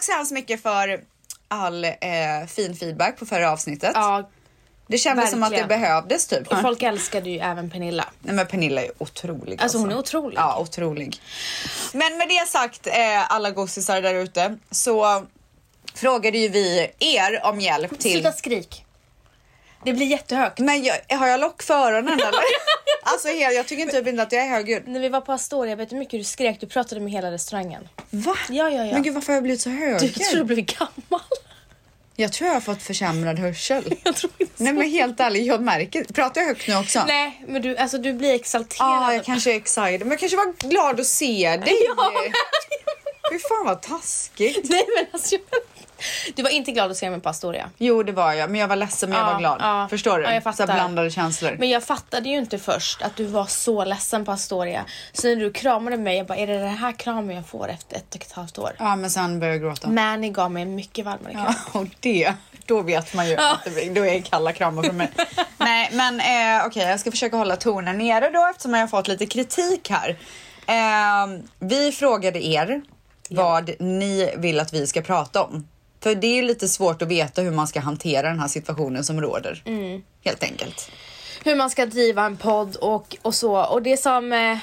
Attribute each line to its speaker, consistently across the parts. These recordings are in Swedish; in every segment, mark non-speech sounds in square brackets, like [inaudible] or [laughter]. Speaker 1: så hemskt mycket för all eh, fin feedback på förra avsnittet.
Speaker 2: Ja,
Speaker 1: det kändes som att det
Speaker 2: verkligen.
Speaker 1: behövdes typ.
Speaker 2: och folk älskade ju även Pernilla.
Speaker 1: Nej, men Pernilla är otrolig.
Speaker 2: Alltså, hon är otrolig.
Speaker 1: Ja, otrolig. Men med det sagt, eh, alla gossisar där ute, så frågade ju vi er om hjälp till...
Speaker 2: Sluta skrik. Det blir jättehögt.
Speaker 1: Men jag, har jag lock för
Speaker 2: [laughs]
Speaker 1: öronen eller? alltså jag, jag tycker typ inte att jag är högljudd.
Speaker 2: När vi var på Astoria, vet du hur mycket du skrek? Du pratade med hela restaurangen.
Speaker 1: Va?
Speaker 2: Ja, ja, ja.
Speaker 1: Men gud varför har jag blivit så hög?
Speaker 2: Du tror du blev gammal. [laughs]
Speaker 1: Jag tror jag har fått försämrad hörsel.
Speaker 2: Jag tror inte så.
Speaker 1: Nej men helt ärligt, jag märker Pratar jag högt nu också?
Speaker 2: Nej, men du, alltså, du blir exalterad.
Speaker 1: Ja, jag kanske är excited. Men jag kanske var glad att se dig.
Speaker 2: [laughs] Ja, men-
Speaker 1: Fy fan vad taskigt.
Speaker 2: Nej, men alltså, jag... Du var inte glad att se mig på Astoria.
Speaker 1: Jo det var jag, men jag var ledsen men jag
Speaker 2: Ja,
Speaker 1: var glad.
Speaker 2: ja.
Speaker 1: Förstår du?
Speaker 2: Ja, jag
Speaker 1: så här
Speaker 2: fattar.
Speaker 1: blandade känslor.
Speaker 2: Men jag fattade ju inte först att du var så ledsen på Astoria. Så när du kramade mig, jag bara, är det den här kramen jag får efter ett och ett halvt år?
Speaker 1: Ja men sen började jag gråta.
Speaker 2: Mani gav mig en mycket varmare kram.
Speaker 1: Ja, [laughs] och det, då vet man ju att det blir, då är det kalla kramar för mig. Nej men eh, okej, jag ska försöka hålla tonen nere då eftersom jag har fått lite kritik här. Eh, vi frågade er vad ni vill att vi ska prata om. För det är ju lite svårt att veta hur man ska hantera den här situationen som råder. Helt enkelt.
Speaker 2: Hur man ska driva en podd och, och så. Och det som... Eh,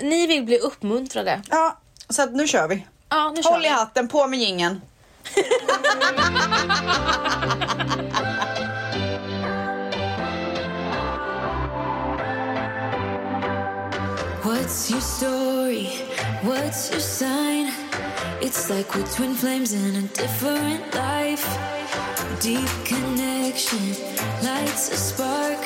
Speaker 2: ni vill bli uppmuntrade.
Speaker 1: Ja, så att nu kör vi.
Speaker 2: Ja, nu kör
Speaker 1: Håll i
Speaker 2: vi.
Speaker 1: hatten, på med gingen.
Speaker 3: What's your story? What's your sign? It's like we're twin flames in a different life. Deep connection lights a spark.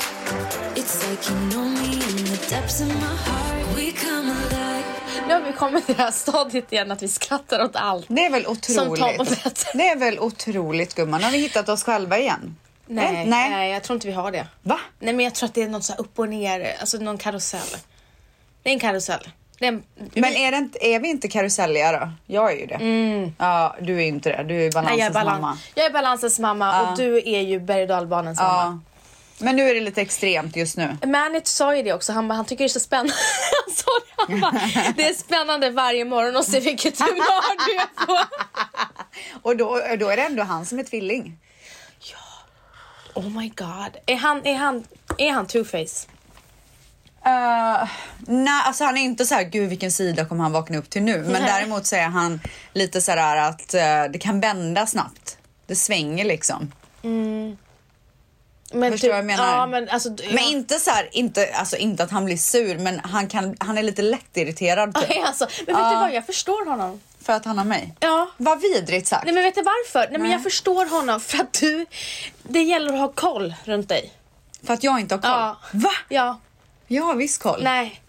Speaker 3: It's like you know me in the depths of my heart. We come alive.
Speaker 2: Nu har vi kommit till det här stadiet igen att vi skrattar åt allt.
Speaker 1: Det är väl
Speaker 2: Tom och
Speaker 1: otroligt.
Speaker 2: Petter.
Speaker 1: Det är väl otroligt gumman. Har vi hittat oss själva igen?
Speaker 2: Nej,
Speaker 1: Eh,
Speaker 2: nej.
Speaker 1: Nej.
Speaker 2: jag tror inte vi har det.
Speaker 1: Va?
Speaker 2: Nej, men jag tror att det är något så här upp och ner, alltså någon karusell. Det är en karusell. Det är en,
Speaker 1: Men är, det inte, är vi inte karuselliga då? Jag är ju det. Ja, du är ju inte det. Du Mm. är balansens
Speaker 2: nej, jag, är balans,
Speaker 1: mamma.
Speaker 2: jag är balansens mamma och du är ju berg och dalbanans mamma.
Speaker 1: Ja. Men nu är det lite extremt just nu.
Speaker 2: Manit sa ju det också, han, bara, han tycker det är så spännande. [laughs] Han sa det, han bara, det är spännande varje morgon att se vilket humör du är på.
Speaker 1: Och då, då är det ändå han som är tvilling.
Speaker 2: Oh my god. Är han, är han, är han two-face?
Speaker 1: Eh, nej, alltså han är inte så här, gud vilken sida kommer han vakna upp till nu? Men däremot så är han lite så här att eh, det kan vända snabbt. Det svänger liksom.
Speaker 2: Men typ-
Speaker 1: Förstår vad jag menar?
Speaker 2: Ja, men alltså, du-
Speaker 1: Men
Speaker 2: ja.
Speaker 1: inte så här, inte, alltså inte att han blir sur, men han, kan, han är lite lättirriterad typ,
Speaker 2: [laughs] Nej, alltså, men vet du vad, jag förstår honom.
Speaker 1: för att han har mig.
Speaker 2: Ja.
Speaker 1: Vad vidrigt sagt.
Speaker 2: Nej men vet du varför? Nej, men jag förstår honom för att du, det gäller att ha koll runt dig.
Speaker 1: För att jag inte har koll.
Speaker 2: Ja.
Speaker 1: Va?
Speaker 2: Ja,
Speaker 1: Jag har visst koll.
Speaker 2: nej.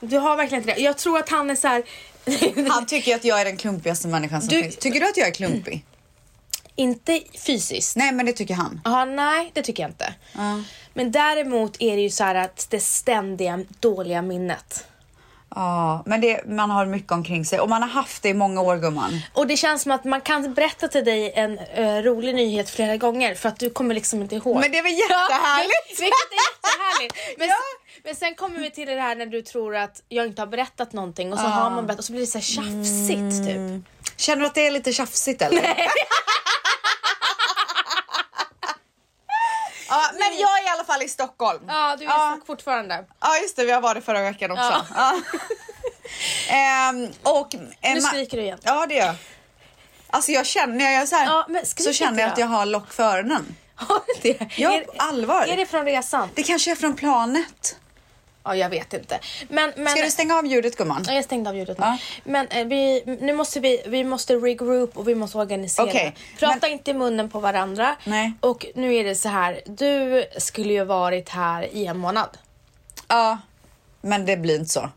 Speaker 2: Du har verkligen inte det. Jag tror att han är så här. [laughs]
Speaker 1: Han tycker att jag är den klumpigaste människan som
Speaker 2: Du-
Speaker 1: finns. Tycker du att jag är klumpig?
Speaker 2: inte fysiskt.
Speaker 1: Nej, men det tycker han.
Speaker 2: Ja, nej, det tycker jag inte.
Speaker 1: Ja.
Speaker 2: Men däremot är det ju så här att det ständiga dåliga minnet.
Speaker 1: Ja, men det, man har mycket omkring sig och man har haft det i många år gumman.
Speaker 2: Och det känns som att man kan berätta till dig en eh, rolig nyhet flera gånger för att du kommer liksom inte ihåg.
Speaker 1: Men det är väl jättehärligt?
Speaker 2: Ja, [laughs] vilket är jättehärligt. Men,
Speaker 1: Ja.
Speaker 2: sen, men sen kommer vi till det här när du tror att jag inte har berättat någonting och så har man berättat och så blir det så här tjafsigt
Speaker 1: Mm.
Speaker 2: typ.
Speaker 1: [laughs] Känner du att det är lite tjafsigt eller? Nej. [laughs] Ja, men jag är i alla fall i Stockholm.
Speaker 2: Ja, du är
Speaker 1: Ja.
Speaker 2: ja. fortfarande.
Speaker 1: Ja just det, jag var det förra veckan också.
Speaker 2: [laughs]
Speaker 1: Ja. Ehm, och, eh, ma-
Speaker 2: Nu skriker du igen.
Speaker 1: Ja det gör jag. Alltså jag känner, när jag gör så här,
Speaker 2: Ja, men skrik
Speaker 1: så känner jag
Speaker 2: inte
Speaker 1: att
Speaker 2: då.
Speaker 1: jag har lock för öronen.
Speaker 2: Har du det?
Speaker 1: Ja,
Speaker 2: [laughs] är,
Speaker 1: på allvar.
Speaker 2: är det från resan?
Speaker 1: Det kanske är från planet.
Speaker 2: Ja, jag vet inte. Men, men,
Speaker 1: Ska du stänga av ljudet gumman?
Speaker 2: Ja, jag stängde av ljudet nu.
Speaker 1: Ja.
Speaker 2: Men eh, vi, nu måste vi, vi måste regroup och vi måste organisera.
Speaker 1: Okej,
Speaker 2: Prata
Speaker 1: men-
Speaker 2: inte i munnen på varandra.
Speaker 1: Nej.
Speaker 2: Och nu är det så här, du skulle ju varit här i en månad.
Speaker 1: Ja, men det blir inte så.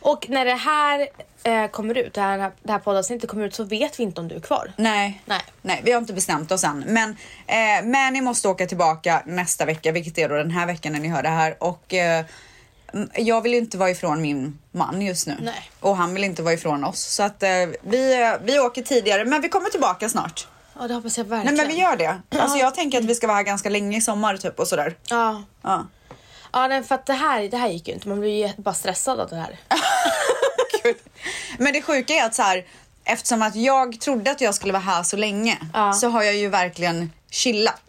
Speaker 2: Och när det här eh, kommer ut, det här, det här poddavsnittet kommer ut så vet vi inte om du är kvar.
Speaker 1: Nej.
Speaker 2: Nej.
Speaker 1: Nej, vi har inte bestämt oss än. Men, eh, men ni måste åka tillbaka nästa vecka, vilket är då den här veckan när ni hör det här. Och eh, m- jag vill ju inte vara ifrån min man just nu.
Speaker 2: Nej.
Speaker 1: Och han vill inte vara ifrån oss. Så att eh, vi, eh, vi åker tidigare, men vi kommer tillbaka snart.
Speaker 2: Ja, det hoppas jag
Speaker 1: Nej
Speaker 2: verkligen.
Speaker 1: men vi gör det. Alltså jag tänker att vi ska vara här ganska länge i sommar typ och sådär.
Speaker 2: Ja.
Speaker 1: Ja.
Speaker 2: Ja, nej, för att det här, det här gick ju inte. Man blir ju bara stressad av det här.
Speaker 1: Men det sjuka är att så här, eftersom att jag trodde att jag skulle vara här så länge
Speaker 2: Ja. Mm.
Speaker 1: så har jag ju verkligen chillat.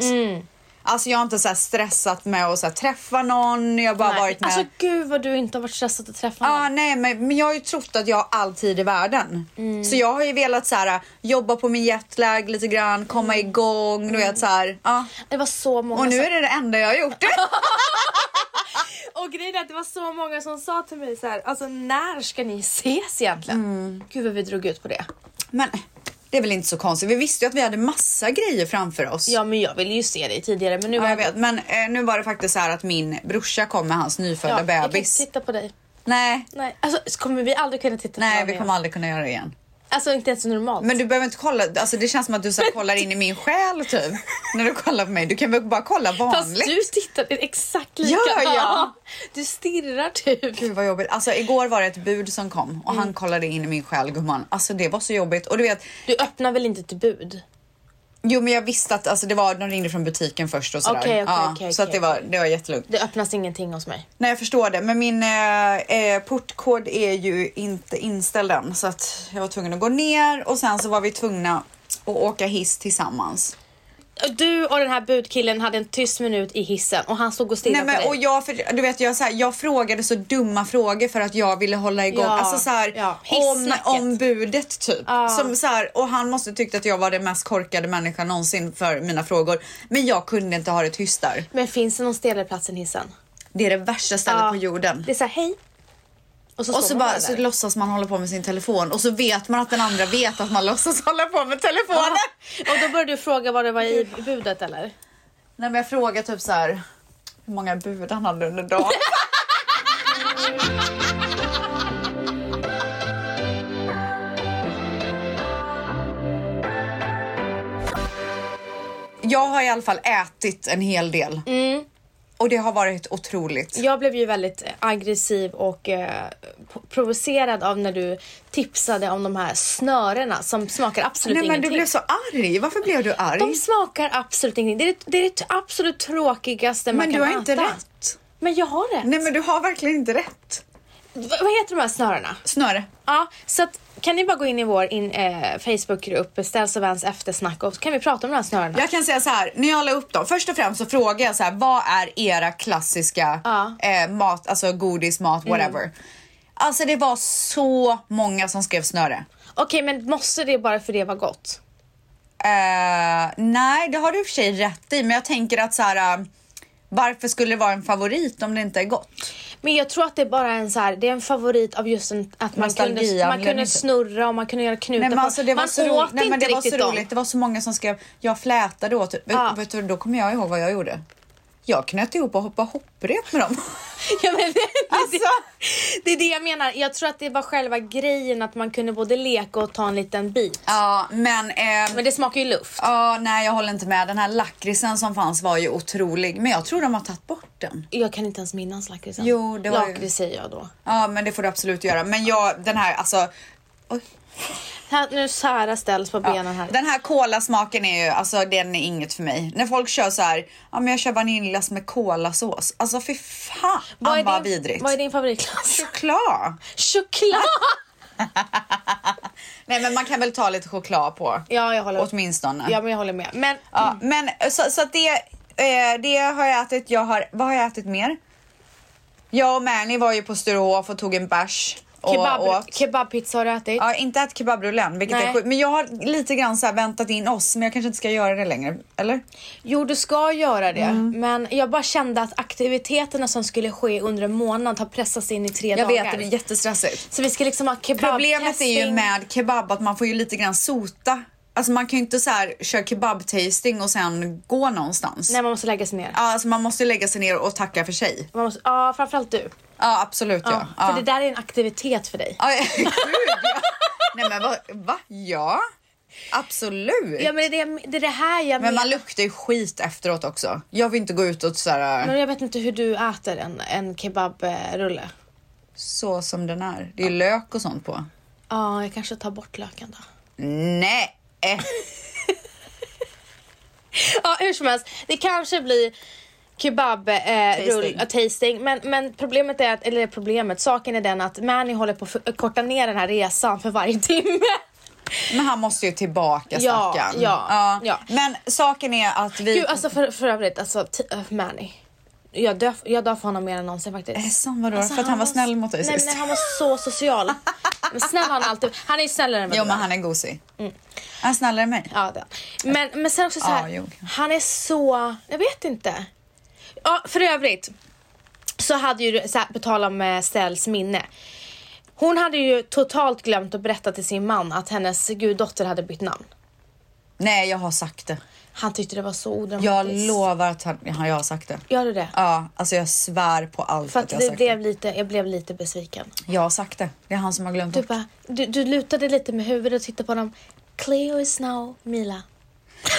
Speaker 1: Alltså jag har inte så här stressat med att så här träffa någon, jag har bara
Speaker 2: Nej.
Speaker 1: varit med.
Speaker 2: Alltså gud vad du inte har varit stressad att träffa
Speaker 1: Ja,
Speaker 2: någon.
Speaker 1: ah, nej, men, men jag har ju trott att jag har all tid i världen.
Speaker 2: Mm.
Speaker 1: Så jag har ju velat så här, jobba på min jetlag lite grann, komma
Speaker 2: Mm.
Speaker 1: igång, du vet så här. ja.
Speaker 2: Det var så många
Speaker 1: Och nu
Speaker 2: som-
Speaker 1: är det det enda jag har
Speaker 2: [laughs]
Speaker 1: gjort.
Speaker 2: Och grejen är att det var så många som sa till mig så här, alltså när ska ni ses egentligen?
Speaker 1: Mm.
Speaker 2: Gud vad vi drog ut på det.
Speaker 1: men det är väl inte så konstigt. Vi visste ju att vi hade massa grejer framför oss.
Speaker 2: Ja men jag ville ju se dig tidigare men nu
Speaker 1: Ja, jag vet. Men eh, nu var det faktiskt så här att min brorsa kom med hans nyfödda
Speaker 2: jag kan inte
Speaker 1: bebis.
Speaker 2: titta på dig.
Speaker 1: Nej,
Speaker 2: Nej, alltså kommer vi aldrig kunna titta på
Speaker 1: nej,
Speaker 2: varandra
Speaker 1: vi kommer
Speaker 2: igen?
Speaker 1: aldrig kunna göra det igen.
Speaker 2: Alltså inte ens normalt.
Speaker 1: Men du behöver inte kolla. Alltså, det känns som att du så här, kollar in i min själ typ. När du kollar på mig. Du kan väl bara kolla
Speaker 2: Fast
Speaker 1: vanligt.
Speaker 2: du tittar exakt lika.
Speaker 1: Gör jag?
Speaker 2: Du stirrar typ.
Speaker 1: Gud vad jobbigt. Alltså igår var det ett bud som kom och
Speaker 2: Mm.
Speaker 1: han kollade in i min själ gumman. Alltså det var så jobbigt. Och du vet,
Speaker 2: Du öppnar väl inte till bud?
Speaker 1: jo men jag visste att alltså, det var, de ringde från butiken först och sådär.
Speaker 2: Okej, okej,
Speaker 1: ja,
Speaker 2: okej,
Speaker 1: så att
Speaker 2: okej.
Speaker 1: det var, det var jättelugnt.
Speaker 2: Det öppnas ingenting hos mig.
Speaker 1: Nej jag förstår det men min eh, eh, portkod är ju inte inställd än så att jag var tvungen att gå ner och sen så var vi tvungna att åka hiss tillsammans.
Speaker 2: Du och den här budkillen hade en tyst minut i hissen och han stod och stirrade
Speaker 1: Nej, men,
Speaker 2: på
Speaker 1: och
Speaker 2: dig.
Speaker 1: jag, för, du vet, jag, så här, jag frågade så dumma frågor för att jag ville hålla igång.
Speaker 2: Ja,
Speaker 1: alltså så här,
Speaker 2: ja.
Speaker 1: om,
Speaker 2: Hissnacket.
Speaker 1: om budet typ.
Speaker 2: Ja.
Speaker 1: Som, så här, och han måste tyckt att jag var den mest korkade människan någonsin för mina frågor. Men jag kunde inte ha det tyst där.
Speaker 2: Men finns det någon stelare plats än hissen?
Speaker 1: Det är det värsta stället
Speaker 2: Ja.
Speaker 1: på jorden.
Speaker 2: Det är så här, hej. Och så,
Speaker 1: Och
Speaker 2: står
Speaker 1: så,
Speaker 2: man
Speaker 1: bara, så
Speaker 2: där.
Speaker 1: låtsas man hålla på med sin telefon och så vet man att den andra vet att man [laughs] låtsas hålla på med telefonen.
Speaker 2: Ja. Och då började du fråga vad det var i budet eller?
Speaker 1: Nej, men jag frågar typ så här, hur många bud han hade under [laughs] dagen. Jag har i alla fall ätit en hel del. Och det har varit otroligt.
Speaker 2: Jag blev ju väldigt eh, aggressiv och eh, po- provocerad av när du tipsade om de här snörena som smakar absolut
Speaker 1: Nej men du
Speaker 2: ingenting.
Speaker 1: blev så arg. Varför blev du arg?
Speaker 2: De smakar absolut ingenting. Det är det, det, är det absolut tråkigaste man
Speaker 1: men du
Speaker 2: kan
Speaker 1: har inte
Speaker 2: äta.
Speaker 1: rätt.
Speaker 2: Men jag har rätt.
Speaker 1: Nej men du har verkligen inte rätt.
Speaker 2: V- vad heter de här snörena?
Speaker 1: Snöre.
Speaker 2: Ja, så att, kan ni bara gå in i vår in, eh, Facebookgrupp, Ställs och Vans eftersnack och så kan vi prata om de här snörena.
Speaker 1: Jag kan säga så här, när jag la upp dem, först och främst så frågade jag så här, vad är era klassiska
Speaker 2: Ja. Mm.
Speaker 1: eh, mat, alltså godis, mat, whatever. Alltså det var så många som skrev Eh, snöre.
Speaker 2: Okej, men måste det bara för det var gott?
Speaker 1: Eh, nej, det har du i och för sig rätt i, men jag tänker att så här, eh, varför skulle det vara en favorit om det inte är gott?
Speaker 2: Men jag tror att det är bara en så här, det är en favorit av just en, att man kunde, man
Speaker 1: Nostalgianledning,
Speaker 2: kunde
Speaker 1: typ.
Speaker 2: snurra och man kunde göra knutar
Speaker 1: Nej, men
Speaker 2: på.
Speaker 1: alltså, det var
Speaker 2: man
Speaker 1: så
Speaker 2: åt
Speaker 1: roligt. Nej, men
Speaker 2: inte
Speaker 1: det var så
Speaker 2: riktigt dem.
Speaker 1: roligt. Det var så många som skrev, jag flätade åt. Vet,
Speaker 2: Ja.
Speaker 1: vet du, då kommer jag ihåg vad jag gjorde. Jag knöt ihop och hoppade hopprep med dem.
Speaker 2: [laughs] Ja, men, det,
Speaker 1: Alltså.
Speaker 2: det, det är det jag menar. Jag tror att det var själva grejen att man kunde både leka och ta en liten bit.
Speaker 1: [laughs] ja, men... ehm,
Speaker 2: Men eh, det smakar ju luft.
Speaker 1: Ja, nej jag håller inte med. Den här lakritsen som fanns var ju otrolig. Men jag tror de har tagit bort den.
Speaker 2: Jag kan inte ens minnas lakritsen.
Speaker 1: Jo, det var ju-
Speaker 2: Lakrits säger jag då.
Speaker 1: Ja, men det får du absolut göra. Men jag, den här alltså. Oj.
Speaker 2: Här, nu Sara ställs på benen här.
Speaker 1: Den här kolasmaken är ju, alltså den är inget för mig. När folk kör så här, ja men jag kör vaniljglass med kolasås. Alltså fy fan vad,
Speaker 2: är din,
Speaker 1: vidrigt.
Speaker 2: vad är
Speaker 1: [laughs]
Speaker 2: din favoritglass?
Speaker 1: Choklad. [laughs]
Speaker 2: Choklad!
Speaker 1: Nej men man kan väl ta lite choklad på.
Speaker 2: Ja, jag håller med.
Speaker 1: Åtminstone.
Speaker 2: Ja, men jag håller med. Men
Speaker 1: Ja, men så, så att det, eh, det har jag ätit. Jag har, vad har jag ätit mer? Jag och Mani var ju på Sturehof och tog en bärs. och
Speaker 2: kebab,
Speaker 1: åt.
Speaker 2: kebabpizza har du ätit?
Speaker 1: Ja, inte ätit kebabrullen, vilket
Speaker 2: Nej.
Speaker 1: är sjukt. Men jag har lite grann så här väntat in oss, men jag kanske inte ska göra det längre. Eller?
Speaker 2: Jo, du ska göra det.
Speaker 1: Mm.
Speaker 2: Men jag bara kände att aktiviteterna som skulle ske under en månad har pressats in i tre
Speaker 1: Jag
Speaker 2: dagar.
Speaker 1: vet, det är jättestressigt.
Speaker 2: Så vi ska liksom ha kebabtesting.
Speaker 1: Problemet är ju med kebab att man får ju lite grann sota. Alltså man kan ju inte så här köra kebabtasting och sen gå någonstans.
Speaker 2: Nej, man måste lägga sig ner.
Speaker 1: Ja, Alltså man måste lägga sig ner och tacka för sig.
Speaker 2: Man måste, ja, framförallt du.
Speaker 1: Ja, absolut ja.
Speaker 2: Ja,
Speaker 1: ja.
Speaker 2: För det där är en aktivitet för dig.
Speaker 1: Ja, [laughs] gud ja. Nej men va? va? Ja, absolut.
Speaker 2: Ja, men det, är- det är det här jag
Speaker 1: men
Speaker 2: menar.
Speaker 1: man luktar ju skit efteråt också. Jag vill inte gå ut och sådär,
Speaker 2: Men jag vet inte hur du äter en, en kebabrulle.
Speaker 1: så som den är. Det är ju lök och sånt på.
Speaker 2: Ja, jag kanske tar bort löken då.
Speaker 1: Nej!
Speaker 2: Ja, hur som helst. Det kanske blir kebab, eh,
Speaker 1: Tasting.
Speaker 2: rull, ja, tasting. Men, men problemet är att, eller problemet, saken är den att Mani håller på att för- korta ner den här resan för varje [laughs] timme.
Speaker 1: Men han måste ju tillbaka
Speaker 2: Ja,
Speaker 1: stackarn.
Speaker 2: ja, ja.
Speaker 1: Men saken är att vi...
Speaker 2: Gud, alltså för, för övrigt, alltså t- äh, Manny. Jag dör, jag dör för honom mer än någonsin faktiskt.
Speaker 1: Ledsen, vadå?
Speaker 2: Alltså,
Speaker 1: Eh, för att han var snäll mot dig
Speaker 2: nej,
Speaker 1: sist.
Speaker 2: Nej, han var så
Speaker 1: [laughs]
Speaker 2: social. Men snäll har han alltid Han är ju snällare än vad
Speaker 1: Jo,
Speaker 2: du
Speaker 1: men han är gosig.
Speaker 2: Mm.
Speaker 1: Han är snällare än mig.
Speaker 2: Ja, det. Men, men sen också så
Speaker 1: Ja,
Speaker 2: här,
Speaker 1: jo.
Speaker 2: han är så, jag vet inte. Ja, för övrigt så hade ju, så här, på tal om eh, Stells minne. Hon hade ju totalt glömt att berätta till sin man att hennes guddotter hade bytt namn.
Speaker 1: Nej, jag har sagt det.
Speaker 2: Han tyckte det var så odramatiskt.
Speaker 1: Jag lovar att han, ja, jag har sagt det.
Speaker 2: Gör du det?
Speaker 1: Ja, alltså jag svär på allt
Speaker 2: För
Speaker 1: att
Speaker 2: att
Speaker 1: jag har
Speaker 2: det
Speaker 1: sagt det.
Speaker 2: blev lite, jag blev lite besviken.
Speaker 1: Jag har sagt det. Det är han som har glömt
Speaker 2: Du,
Speaker 1: det.
Speaker 2: bara, du, du lutade lite med huvudet och tittade på honom. Cleo is now Mila.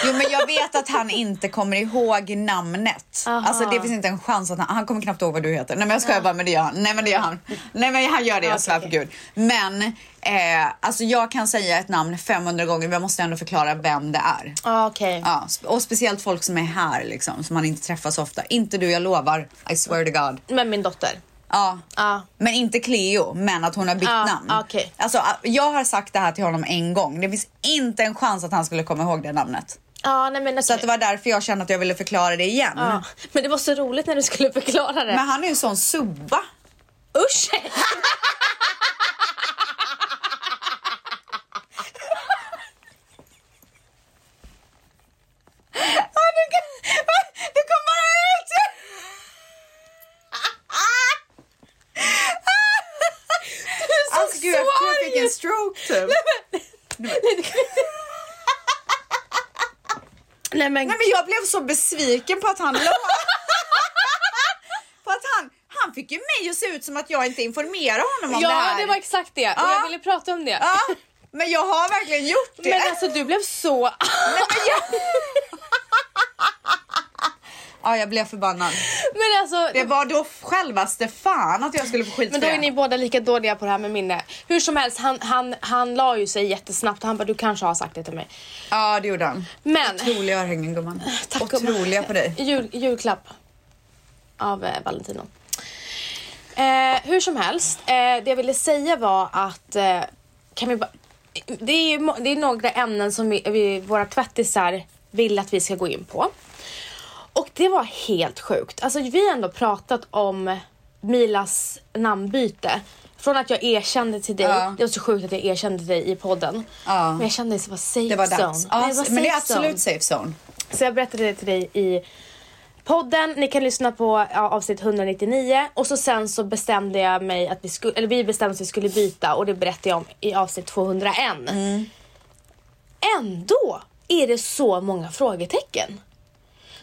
Speaker 1: Jo, men jag vet att han inte kommer ihåg namnet.
Speaker 2: Aha.
Speaker 1: Alltså det finns inte en chans att han, han kommer knappt ihåg vad du heter. Nej men jag skojar bara, men det gör han. Nej men det gör han. Nej men han gör det,
Speaker 2: Ja,
Speaker 1: jag svär på
Speaker 2: okej,
Speaker 1: gud. Men eh, alltså jag kan säga ett namn 500 gånger men jag måste ändå förklara vem det är.
Speaker 2: Ah, Okej.
Speaker 1: Ja, sp- och speciellt folk som är här liksom, som man inte träffar så ofta. Inte du, jag lovar. I swear to God.
Speaker 2: Men min dotter.
Speaker 1: Ja.
Speaker 2: Ja.
Speaker 1: Men inte Cleo, men att hon har bytt
Speaker 2: Ja,
Speaker 1: namn.
Speaker 2: Ah, okej.
Speaker 1: Alltså, jag har sagt det här till honom en gång. Det finns inte en chans att han skulle komma ihåg det namnet.
Speaker 2: Ja, nej men
Speaker 1: Så att det var därför jag kände att jag ville förklara det igen.
Speaker 2: Ja, men det var så roligt när du skulle förklara det.
Speaker 1: Mm. Men han är ju en sån subba.
Speaker 2: Usch!
Speaker 1: Det kom bara ut! Alltså gud, jag tror jag fick en stroke typ.
Speaker 2: Nej men,
Speaker 1: Nej men jag blev så besviken på att han låg. [laughs] på att han, han fick ju mig att se ut som att jag inte informerade honom om det
Speaker 2: ja
Speaker 1: här.
Speaker 2: det var exakt det. Och
Speaker 1: Ja.
Speaker 2: jag ville prata om det.
Speaker 1: Ja, men jag har verkligen gjort det.
Speaker 2: Men alltså du blev så... [laughs]
Speaker 1: Ja, jag blev förbannad.
Speaker 2: Men alltså,
Speaker 1: Det var då självaste fan att jag skulle få skit
Speaker 2: men
Speaker 1: för
Speaker 2: då
Speaker 1: det.
Speaker 2: är ni båda lika dåliga på det här med minne. Hur som helst, han, han, han la ju sig jättesnabbt och han bara du kanske har sagt det till mig.
Speaker 1: Ja, det gjorde han.
Speaker 2: Men,
Speaker 1: Otroliga örhängen gumman.
Speaker 2: Ah, tack
Speaker 1: Otroliga på dig.
Speaker 2: Jul, julklapp av eh, Valentino. Eh, hur som helst, eh, det jag ville säga var att eh, kan vi bara- det, är ju, må- det är några ämnen som vi, vi, våra tvättisar vill att vi ska gå in på. Och det var helt sjukt. Alltså vi har ändå pratat om Milas namnbyte. Från att jag erkände till dig,
Speaker 1: Ja.
Speaker 2: det var så sjukt att jag erkände dig i podden.
Speaker 1: Ja.
Speaker 2: Men jag kände att det var safe
Speaker 1: Det var
Speaker 2: zone.
Speaker 1: dags. Ja,
Speaker 2: Nej, det var
Speaker 1: men det är
Speaker 2: safe zone.
Speaker 1: absolut safe zone.
Speaker 2: Så jag berättade det till dig i podden. Ni kan lyssna på ja, avsnitt 199 och så sen så bestämde jag mig att vi skulle, eller vi bestämde att vi skulle byta och det berättade jag om i avsnitt 201.
Speaker 1: Mm.
Speaker 2: Ändå är det så många frågetecken.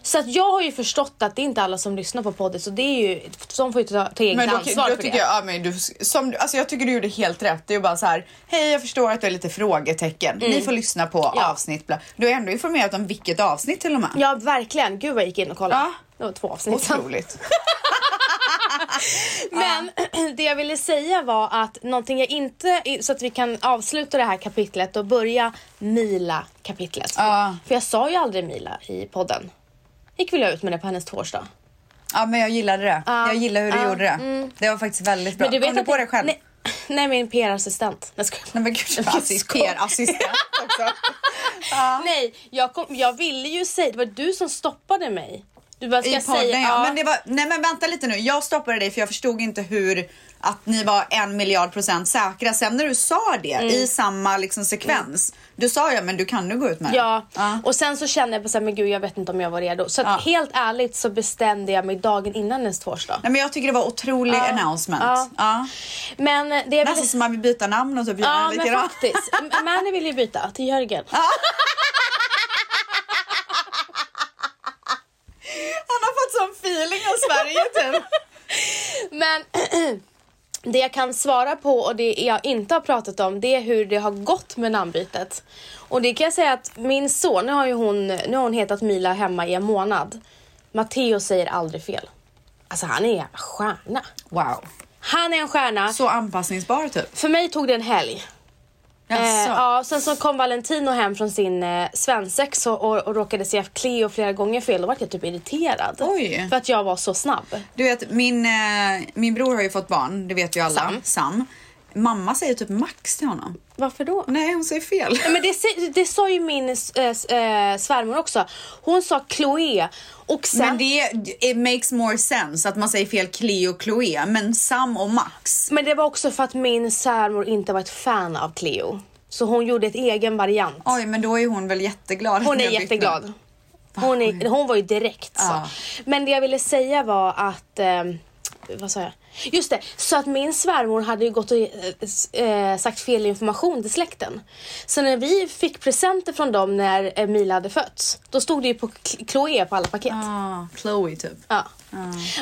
Speaker 2: Så att jag har ju förstått att det är inte alla som lyssnar på podden så det är ju, de får ju ta, ta eget
Speaker 1: Men då,
Speaker 2: ansvar
Speaker 1: då
Speaker 2: för
Speaker 1: tycker
Speaker 2: det.
Speaker 1: jag, ja, men du, som, du- alltså jag tycker du gjorde helt rätt. Det är ju bara så här, hej jag förstår att du är lite frågetecken. Ni får lyssna på
Speaker 2: Mm. Ja.
Speaker 1: avsnitt. Bla. Du har ändå informerat om vilket avsnitt till och med.
Speaker 2: Ja verkligen, gud vad jag gick in och kollade.
Speaker 1: Ja.
Speaker 2: Det var två avsnitt sedan.
Speaker 1: Otroligt.
Speaker 2: Men [clears throat] det jag ville säga var att någonting jag inte, så att vi kan avsluta det här kapitlet och börja Mila-kapitlet.
Speaker 1: Ja.
Speaker 2: För jag sa ju aldrig Mila i podden. Gick väl jag ut med det på hennes tvårsdag.
Speaker 1: Ja men jag gillade det.
Speaker 2: Ja.
Speaker 1: Jag gillar hur du
Speaker 2: Ja. Mm.
Speaker 1: gjorde det. Det var faktiskt väldigt bra. Kom du på det själv?
Speaker 2: Nej, [laughs] nej min PR-assistent. Nej, skojar.
Speaker 1: Nej men gud,
Speaker 2: Jag
Speaker 1: assist-
Speaker 2: skojar.
Speaker 1: PR-assistent [laughs] också.
Speaker 2: Nej, jag, kom, jag ville ju säga, det var du som stoppade mig. Du bara, ska
Speaker 1: I
Speaker 2: jag
Speaker 1: podden
Speaker 2: säga?
Speaker 1: ja. Men det var, nej men vänta lite nu. Jag stoppade dig för jag förstod inte hur att ni var en miljard procent säkra. Sen när du sa det
Speaker 2: Mm.
Speaker 1: i samma liksom sekvens. Du sa ja men du kan nu gå ut med det.
Speaker 2: Ja, och sen så kände jag på så här, men gud jag vet inte om jag var redo. Så att
Speaker 1: Ja.
Speaker 2: helt ärligt så bestämde jag mig dagen innan hennes tvårsdag.
Speaker 1: Nej men jag tycker det var otrolig announcement.
Speaker 2: Ja.
Speaker 1: Ja.
Speaker 2: Men det jag ville
Speaker 1: Nästan som man vill byta namn och typ göra
Speaker 2: Ja
Speaker 1: en
Speaker 2: men
Speaker 1: likadan.
Speaker 2: faktiskt. M- Mani vill ju byta till Jörgen.
Speaker 1: [laughs] Han har fått sån feeling av Sverige typ.
Speaker 2: [laughs] Men [clears throat] det jag kan svara på och det jag inte har pratat om det är hur det har gått med namnbytet. Och det kan jag säga att min son, nu har ju hon, nu har hon hetat Mila hemma i en månad. Matteo säger aldrig fel. Alltså han är en stjärna.
Speaker 1: Wow.
Speaker 2: Han är en stjärna.
Speaker 1: Så anpassningsbar typ.
Speaker 2: För mig tog det en helg. Eh,
Speaker 1: Jaså?
Speaker 2: ja, sen så kom Valentino hem från sin eh, svensex och, och, och råkade se Cleo flera gånger fel. Då vart jag typ irriterad.
Speaker 1: Oj.
Speaker 2: För att jag var så snabb.
Speaker 1: Du vet, min, eh, min bror har ju fått barn, det vet ju alla. Sam.
Speaker 2: Sam.
Speaker 1: mamma säger typ Max till honom.
Speaker 2: Varför då?
Speaker 1: Nej, hon säger fel.
Speaker 2: Nej, men det, se- det sa ju min eh, s- eh, svärmor också. Hon sa Chloé och sen...
Speaker 1: Men det it makes more sense att man säger fel Cleo och Chloe, men Sam och Max.
Speaker 2: Men det var också för att min svärmor inte var ett fan av Cleo. Så hon gjorde ett egen variant.
Speaker 1: Oj, men då är hon väl jätteglad. att
Speaker 2: Hon
Speaker 1: ni
Speaker 2: är
Speaker 1: har bytt namn.
Speaker 2: jätteglad. Hon, är, hon var ju direkt så.
Speaker 1: Ja.
Speaker 2: Men det jag ville säga var att... ehm, vad sa jag? Just det, så att min svärmor hade ju gått och eh, s- eh, sagt fel information till släkten. Så när vi fick presenter från dem när Emilia hade fötts, då stod det ju på Cl- Chloé på alla paket.
Speaker 1: Ah, Chloe typ.
Speaker 2: Ja.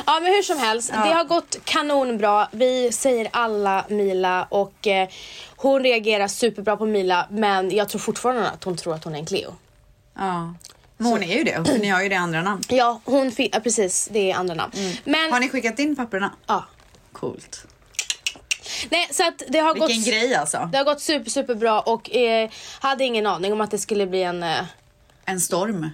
Speaker 2: ja, men hur som helst. Det har gått kanonbra. Vi säger alla Mila och eh, hon reagerar superbra på Mila men jag tror fortfarande att hon tror att hon är en Cleo.
Speaker 1: Ja. Ah. Men hon är ju det, för ni har ju det andra namn.
Speaker 2: Ja, hon fi- ja, precis. Det är andra namn. Men,
Speaker 1: Mm. Har ni skickat in papperna?
Speaker 2: ja.
Speaker 1: Coolt.
Speaker 2: Nej, så att det har
Speaker 1: Vilken
Speaker 2: gått...
Speaker 1: grej alltså.
Speaker 2: Det har gått super, superbra och eh, hade ingen aning om att det skulle bli en eh,
Speaker 1: En storm.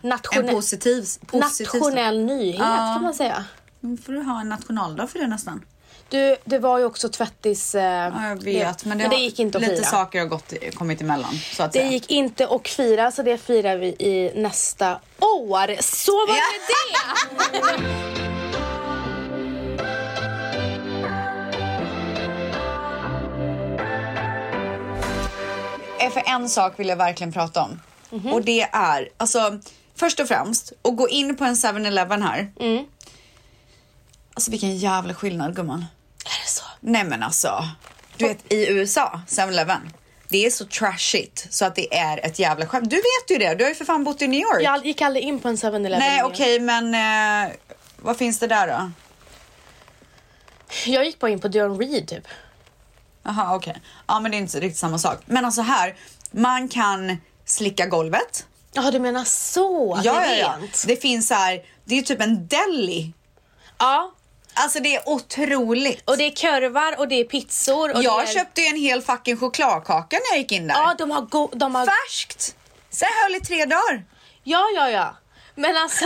Speaker 1: En
Speaker 2: Nationell-
Speaker 1: positiv, positiv storm.
Speaker 2: nationell nyhet
Speaker 1: Ja.
Speaker 2: kan man säga.
Speaker 1: Nu får du ha en nationaldag för det nästan.
Speaker 2: Du, det var ju också tvättis... Eh,
Speaker 1: Ja, jag vet, men det, har-
Speaker 2: gick inte att
Speaker 1: Lite
Speaker 2: fira.
Speaker 1: saker har gått, kommit emellan. Så att
Speaker 2: Det
Speaker 1: säga.
Speaker 2: gick inte att fira så det firar vi i nästa år. Så var det med
Speaker 1: [laughs]
Speaker 2: det!
Speaker 1: Eh, För en sak vill jag verkligen prata om.
Speaker 2: Mhm.
Speaker 1: Och det är, alltså först och främst, att gå in på en 7-Eleven här.
Speaker 2: Mm.
Speaker 1: Alltså vilken jävla skillnad gumman.
Speaker 2: Är det så?
Speaker 1: Nej men alltså. Du vet i USA, 7-Eleven. Det är så trashigt så att det är ett jävla skämt. Du vet ju det, du har ju för fan bott i New York.
Speaker 2: Jag gick aldrig in på en 7-Eleven.
Speaker 1: Nej
Speaker 2: igen.
Speaker 1: okej men eh, vad finns det där då?
Speaker 2: Jag gick bara in på Dion Reed typ.
Speaker 1: Jaha okej. Ja men det är inte riktigt samma sak. Men alltså här, man kan slicka golvet.
Speaker 2: Jaha du menar så? att
Speaker 1: Ja,
Speaker 2: det
Speaker 1: ja,
Speaker 2: är
Speaker 1: ja.
Speaker 2: rent.
Speaker 1: Det finns så här, det är typ en deli.
Speaker 2: ja.
Speaker 1: Alltså det är otroligt.
Speaker 2: Och det är korvar och det är pizzor. Och det
Speaker 1: jag
Speaker 2: är...
Speaker 1: köpte ju en hel fucking chokladkaka när jag gick in där.
Speaker 2: Ja, de har go- de har...
Speaker 1: Färskt! Så jag höll i tre dagar.
Speaker 2: Ja, ja, ja. Men alltså...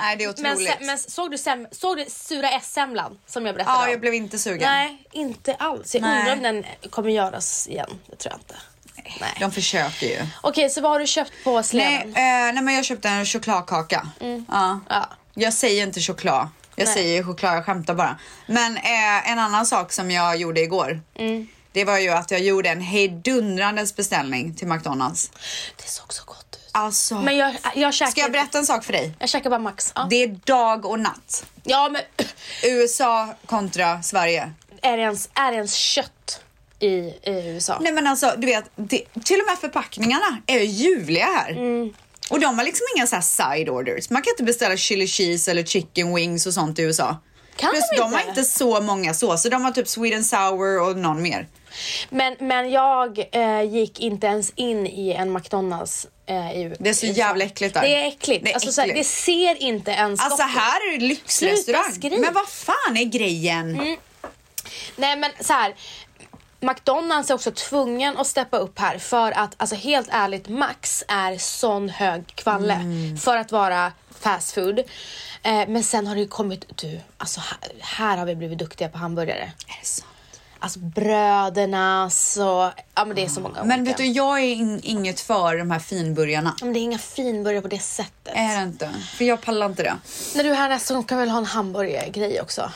Speaker 1: Nej det är
Speaker 2: men,
Speaker 1: otroligt.
Speaker 2: se- men såg, du sem- såg du sura S-semlan som jag berättade
Speaker 1: ja
Speaker 2: om?
Speaker 1: jag blev inte sugen.
Speaker 2: Nej, inte alls. Jag
Speaker 1: Nej.
Speaker 2: undrar om den kommer göras igen. Det tror jag inte. Nej.
Speaker 1: De försöker ju.
Speaker 2: Okej, så vad har du köpt på
Speaker 1: Nej,
Speaker 2: sleven?
Speaker 1: eh, nej men jag köpte en chokladkaka. Ja.
Speaker 2: Mm. Ja.
Speaker 1: Jag säger inte choklad. Jag
Speaker 2: Nej.
Speaker 1: säger choklad, jag skämtar bara. Men eh, en annan sak som jag gjorde igår.
Speaker 2: Mm.
Speaker 1: Det var ju att jag gjorde en hejdundrandes beställning till McDonalds.
Speaker 2: Det såg så gott ut.
Speaker 1: Alltså.
Speaker 2: Men jag, jag käkar...
Speaker 1: Ska jag berätta en sak för dig?
Speaker 2: Jag käkar bara Max. Ja,
Speaker 1: Det är dag och natt.
Speaker 2: ja men
Speaker 1: USA kontra Sverige.
Speaker 2: [clears throat] är det ens, är det ens kött i, i USA?
Speaker 1: Nej men alltså du vet, det, till och med förpackningarna är ju ljuvliga här.
Speaker 2: Mm.
Speaker 1: Och de har liksom inga så här side orders. Man kan inte beställa chili cheese eller chicken wings och sånt i USA.
Speaker 2: Kan
Speaker 1: Plus
Speaker 2: de
Speaker 1: de
Speaker 2: inte?
Speaker 1: har inte så många såser. De har typ Sweden sour och någon mer.
Speaker 2: Men, men jag eh, gick inte ens in i en McDonalds eh, i
Speaker 1: Det är så
Speaker 2: i-
Speaker 1: jävla äckligt där.
Speaker 2: Det är äckligt.
Speaker 1: Det är
Speaker 2: alltså, så här,
Speaker 1: äckligt.
Speaker 2: det ser inte ens
Speaker 1: Alltså
Speaker 2: gott ut.
Speaker 1: här är det lyxrestaurang.
Speaker 2: Sluta skrik. Mm.
Speaker 1: Men vad fan är grejen?
Speaker 2: Nej men så här. McDonalds är också tvungen att steppa upp här för att alltså helt ärligt Max är sån hög kvalle
Speaker 1: Mm.
Speaker 2: för att vara fast food. Eh, men sen har det ju kommit, du alltså här, här har vi blivit duktiga på hamburgare.
Speaker 1: Är det sant?
Speaker 2: Alltså bröderna så, ja men det är så många
Speaker 1: Men
Speaker 2: olika.
Speaker 1: vet du, jag är in, inget för de här finburgarna.
Speaker 2: Men det är inga finburgare på det sättet.
Speaker 1: Är det inte? För jag pallar inte det.
Speaker 2: När du är här nästa gång kan vi väl ha en hamburgergrej också?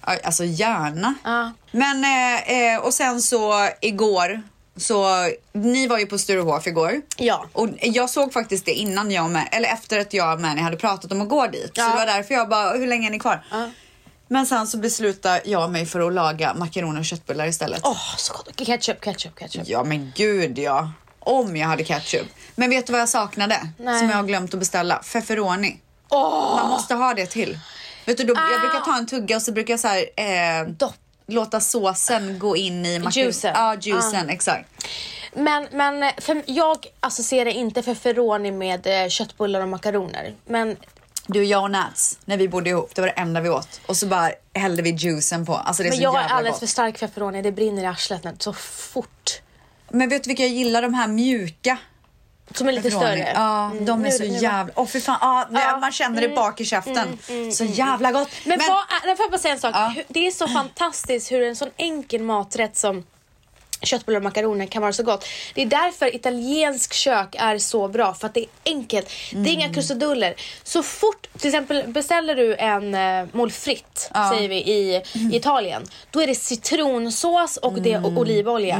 Speaker 1: Aj, Alltså gärna.
Speaker 2: Ja.
Speaker 1: Men eh, eh, och sen så igår så ni var ju på Sturehof igår.
Speaker 2: Ja.
Speaker 1: Och jag såg faktiskt det innan jag och med, eller efter att jag och Mani hade pratat om att gå dit. Så
Speaker 2: Ja.
Speaker 1: det var därför jag bara, hur länge är ni kvar?
Speaker 2: Ja.
Speaker 1: Men sen så beslutade jag mig för att laga makaroner och köttbullar istället.
Speaker 2: Åh så gott. Ketchup, ketchup, ketchup.
Speaker 1: Ja men gud ja. Om jag hade ketchup. Men vet du vad jag saknade?
Speaker 2: Nej.
Speaker 1: Som jag har glömt att beställa? Feferoni.
Speaker 2: Åh!
Speaker 1: Man måste ha det till. Vet du, då,
Speaker 2: Ah.
Speaker 1: Jag brukar ta en tugga och så brukar jag så här, eh,
Speaker 2: Dopp.
Speaker 1: låta såsen gå in i makron-
Speaker 2: Juicen. Ah.
Speaker 1: Ja, juicen. Exakt.
Speaker 2: Men, men eh, för, jag associerar inte feferoni med eh, köttbullar och makaroner. Men
Speaker 1: Du, jag och Nats, när vi bodde ihop, det var det enda vi åt. Och så bara hällde vi juicen på. Alltså det är
Speaker 2: Men
Speaker 1: så
Speaker 2: jag är
Speaker 1: jävla
Speaker 2: alldeles
Speaker 1: gott.
Speaker 2: för stark för feferoni, det brinner i arslet nu så fort.
Speaker 1: Men vet du vilka jag gillar? De här mjuka.
Speaker 2: Som är lite
Speaker 1: Ronny.
Speaker 2: större.
Speaker 1: Ja, de är
Speaker 2: Mm. Nu-
Speaker 1: så
Speaker 2: nu-
Speaker 1: jävla... Åh fy fan, ja, nej,
Speaker 2: Ja. Mm.
Speaker 1: man känner det bak i käften. så jävla gott.
Speaker 2: Men, vad är, nej, får jag bara säga en sak?
Speaker 1: Ja.
Speaker 2: Hur- Det är så fantastiskt hur en sån enkel maträtt som köttbullar och makaroner kan vara så gott. Det är därför italiensk kök är så bra, för att det är enkelt. Det är
Speaker 1: Mm.
Speaker 2: inga krusiduller. Så fort, till exempel beställer du en eh, mol fritt, säger vi, i,
Speaker 1: Mm.
Speaker 2: i Italien. Då är det citronsås och det är o- olivolja.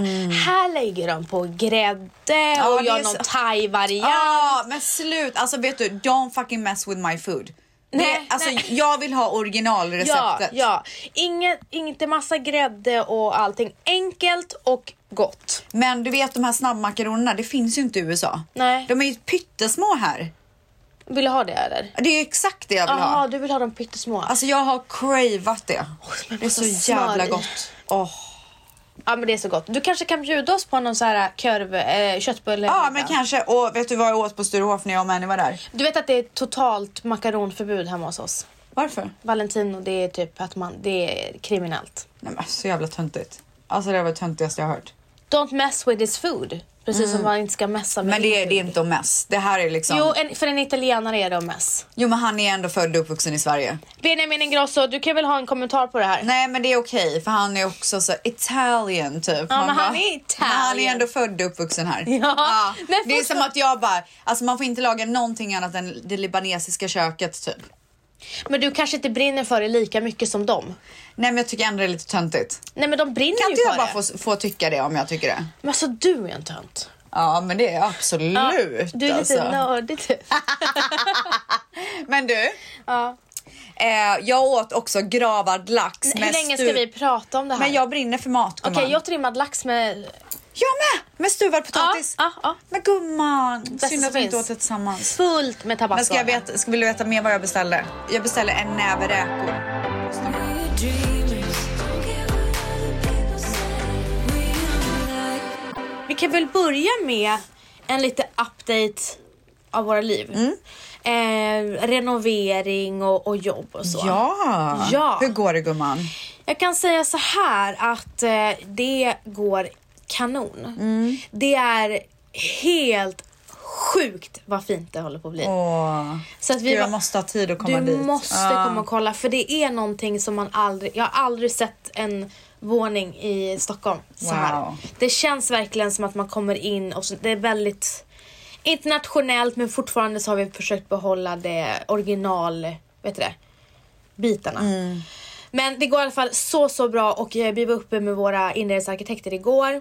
Speaker 2: Här lägger de på grädde och
Speaker 1: Mm. det är
Speaker 2: gör
Speaker 1: så-
Speaker 2: någon thai-variant.
Speaker 1: Ja, men slut. Alltså vet du, don't fucking mess with my food.
Speaker 2: Nej,
Speaker 1: det, alltså,
Speaker 2: nej.
Speaker 1: Jag vill ha originalreceptet.
Speaker 2: Ja, ja. Inget, inte massa grädde och allting. Enkelt och gott.
Speaker 1: Men du vet de här snabbmakaronerna, det finns ju inte i USA.
Speaker 2: Nej.
Speaker 1: De är ju pyttesmå här.
Speaker 2: Vill du ha det eller?
Speaker 1: Det är ju exakt det jag vill
Speaker 2: Jaha,
Speaker 1: ha.
Speaker 2: du vill ha de pyttesmå?
Speaker 1: Alltså jag har cravat det.
Speaker 2: men
Speaker 1: det är
Speaker 2: massa
Speaker 1: så
Speaker 2: smör
Speaker 1: jävla
Speaker 2: i.
Speaker 1: gott. Åh.
Speaker 2: Ja men det är så gott. Du kanske kan bjuda oss på någon så här körv, eh, köttbulle?
Speaker 1: Ja men kanske. Och vet du vad jag åt på Sturehof när jag och Manny var där?
Speaker 2: Du vet att det är totalt makaronförbud hemma hos oss.
Speaker 1: Varför?
Speaker 2: Valentino det är typ att man, det är kriminellt.
Speaker 1: Nej men så jävla töntigt. Alltså det var det töntigaste jag har hört.
Speaker 2: Don't mess with his food. Precis som man inte ska messa med
Speaker 1: Mm. Men det, är-
Speaker 2: din
Speaker 1: det är
Speaker 2: food.
Speaker 1: inte om mess. Det här är liksom.
Speaker 2: Jo,
Speaker 1: Jo.
Speaker 2: en, för en italienare är det om mess.
Speaker 1: men han är ändå född och uppvuxen i Sverige.
Speaker 2: Benjamin Ingrosso, du kan väl ha en kommentar på det här?
Speaker 1: Nej men det är okej för han är också så Italian typ. Ja
Speaker 2: men han är Italian.
Speaker 1: Han är ändå född och uppvuxen här.
Speaker 2: Ja, men
Speaker 1: det är
Speaker 2: fortfar-
Speaker 1: som att jag bara, alltså man får inte laga någonting annat än det libanesiska köket typ.
Speaker 2: Men du kanske inte brinner för det lika mycket som dem.
Speaker 1: Nej men jag tycker ändå det är lite töntigt.
Speaker 2: Nej men de brinner
Speaker 1: Kan
Speaker 2: ju
Speaker 1: inte jag
Speaker 2: för
Speaker 1: bara
Speaker 2: det.
Speaker 1: få, få tycka det om jag tycker det?
Speaker 2: Men alltså du är en tönt.
Speaker 1: Ja men det är jag absolut.
Speaker 2: Ja, du är lite
Speaker 1: alltså.
Speaker 2: nördig typ.
Speaker 1: Men du,
Speaker 2: ja.
Speaker 1: eh, jag åt också gravad lax
Speaker 2: Hur länge ska
Speaker 1: stu-
Speaker 2: vi prata om det här?
Speaker 1: Men jag brinner för mat
Speaker 2: Okej,
Speaker 1: gumman.
Speaker 2: jag trimmad lax med...
Speaker 1: Jag med! Med stuvad potatis.
Speaker 2: Ja, ja, ja.
Speaker 1: Men gumman, synd
Speaker 2: som
Speaker 1: att vi inte
Speaker 2: finns.
Speaker 1: åt det tillsammans.
Speaker 2: Fullt med tabasco.
Speaker 1: Men ska, jag veta, ska vill du veta mer vad jag beställde? Jag beställde en näve räkor.
Speaker 3: We're dreamers. Don't care what other people say. We are like
Speaker 2: Vi kan väl börja med en lite update av våra liv.
Speaker 1: Mm.
Speaker 2: Eh, renovering och, och jobb och så.
Speaker 1: Ja.
Speaker 2: Ja.
Speaker 1: Hur går det gumman?
Speaker 2: Jag kan säga så här att eh, det går kanon.
Speaker 1: Mm.
Speaker 2: Det är helt sjukt vad fint det håller på att bli.
Speaker 1: Åh.
Speaker 2: Så att vi
Speaker 1: Gud,
Speaker 2: var-
Speaker 1: jag måste ha tid att komma
Speaker 2: du
Speaker 1: dit.
Speaker 2: måste
Speaker 1: Ja.
Speaker 2: komma och kolla för det är någonting som man aldrig, jag har aldrig sett en våning i Stockholm så här.
Speaker 1: Wow.
Speaker 2: Det känns verkligen som att man kommer in och så, det är väldigt internationellt men fortfarande så har vi försökt behålla det original, vet du det, bitarna.
Speaker 1: Mm.
Speaker 2: Men det går i alla fall så så bra och eh, vi var uppe med våra inredningsarkitekter igår.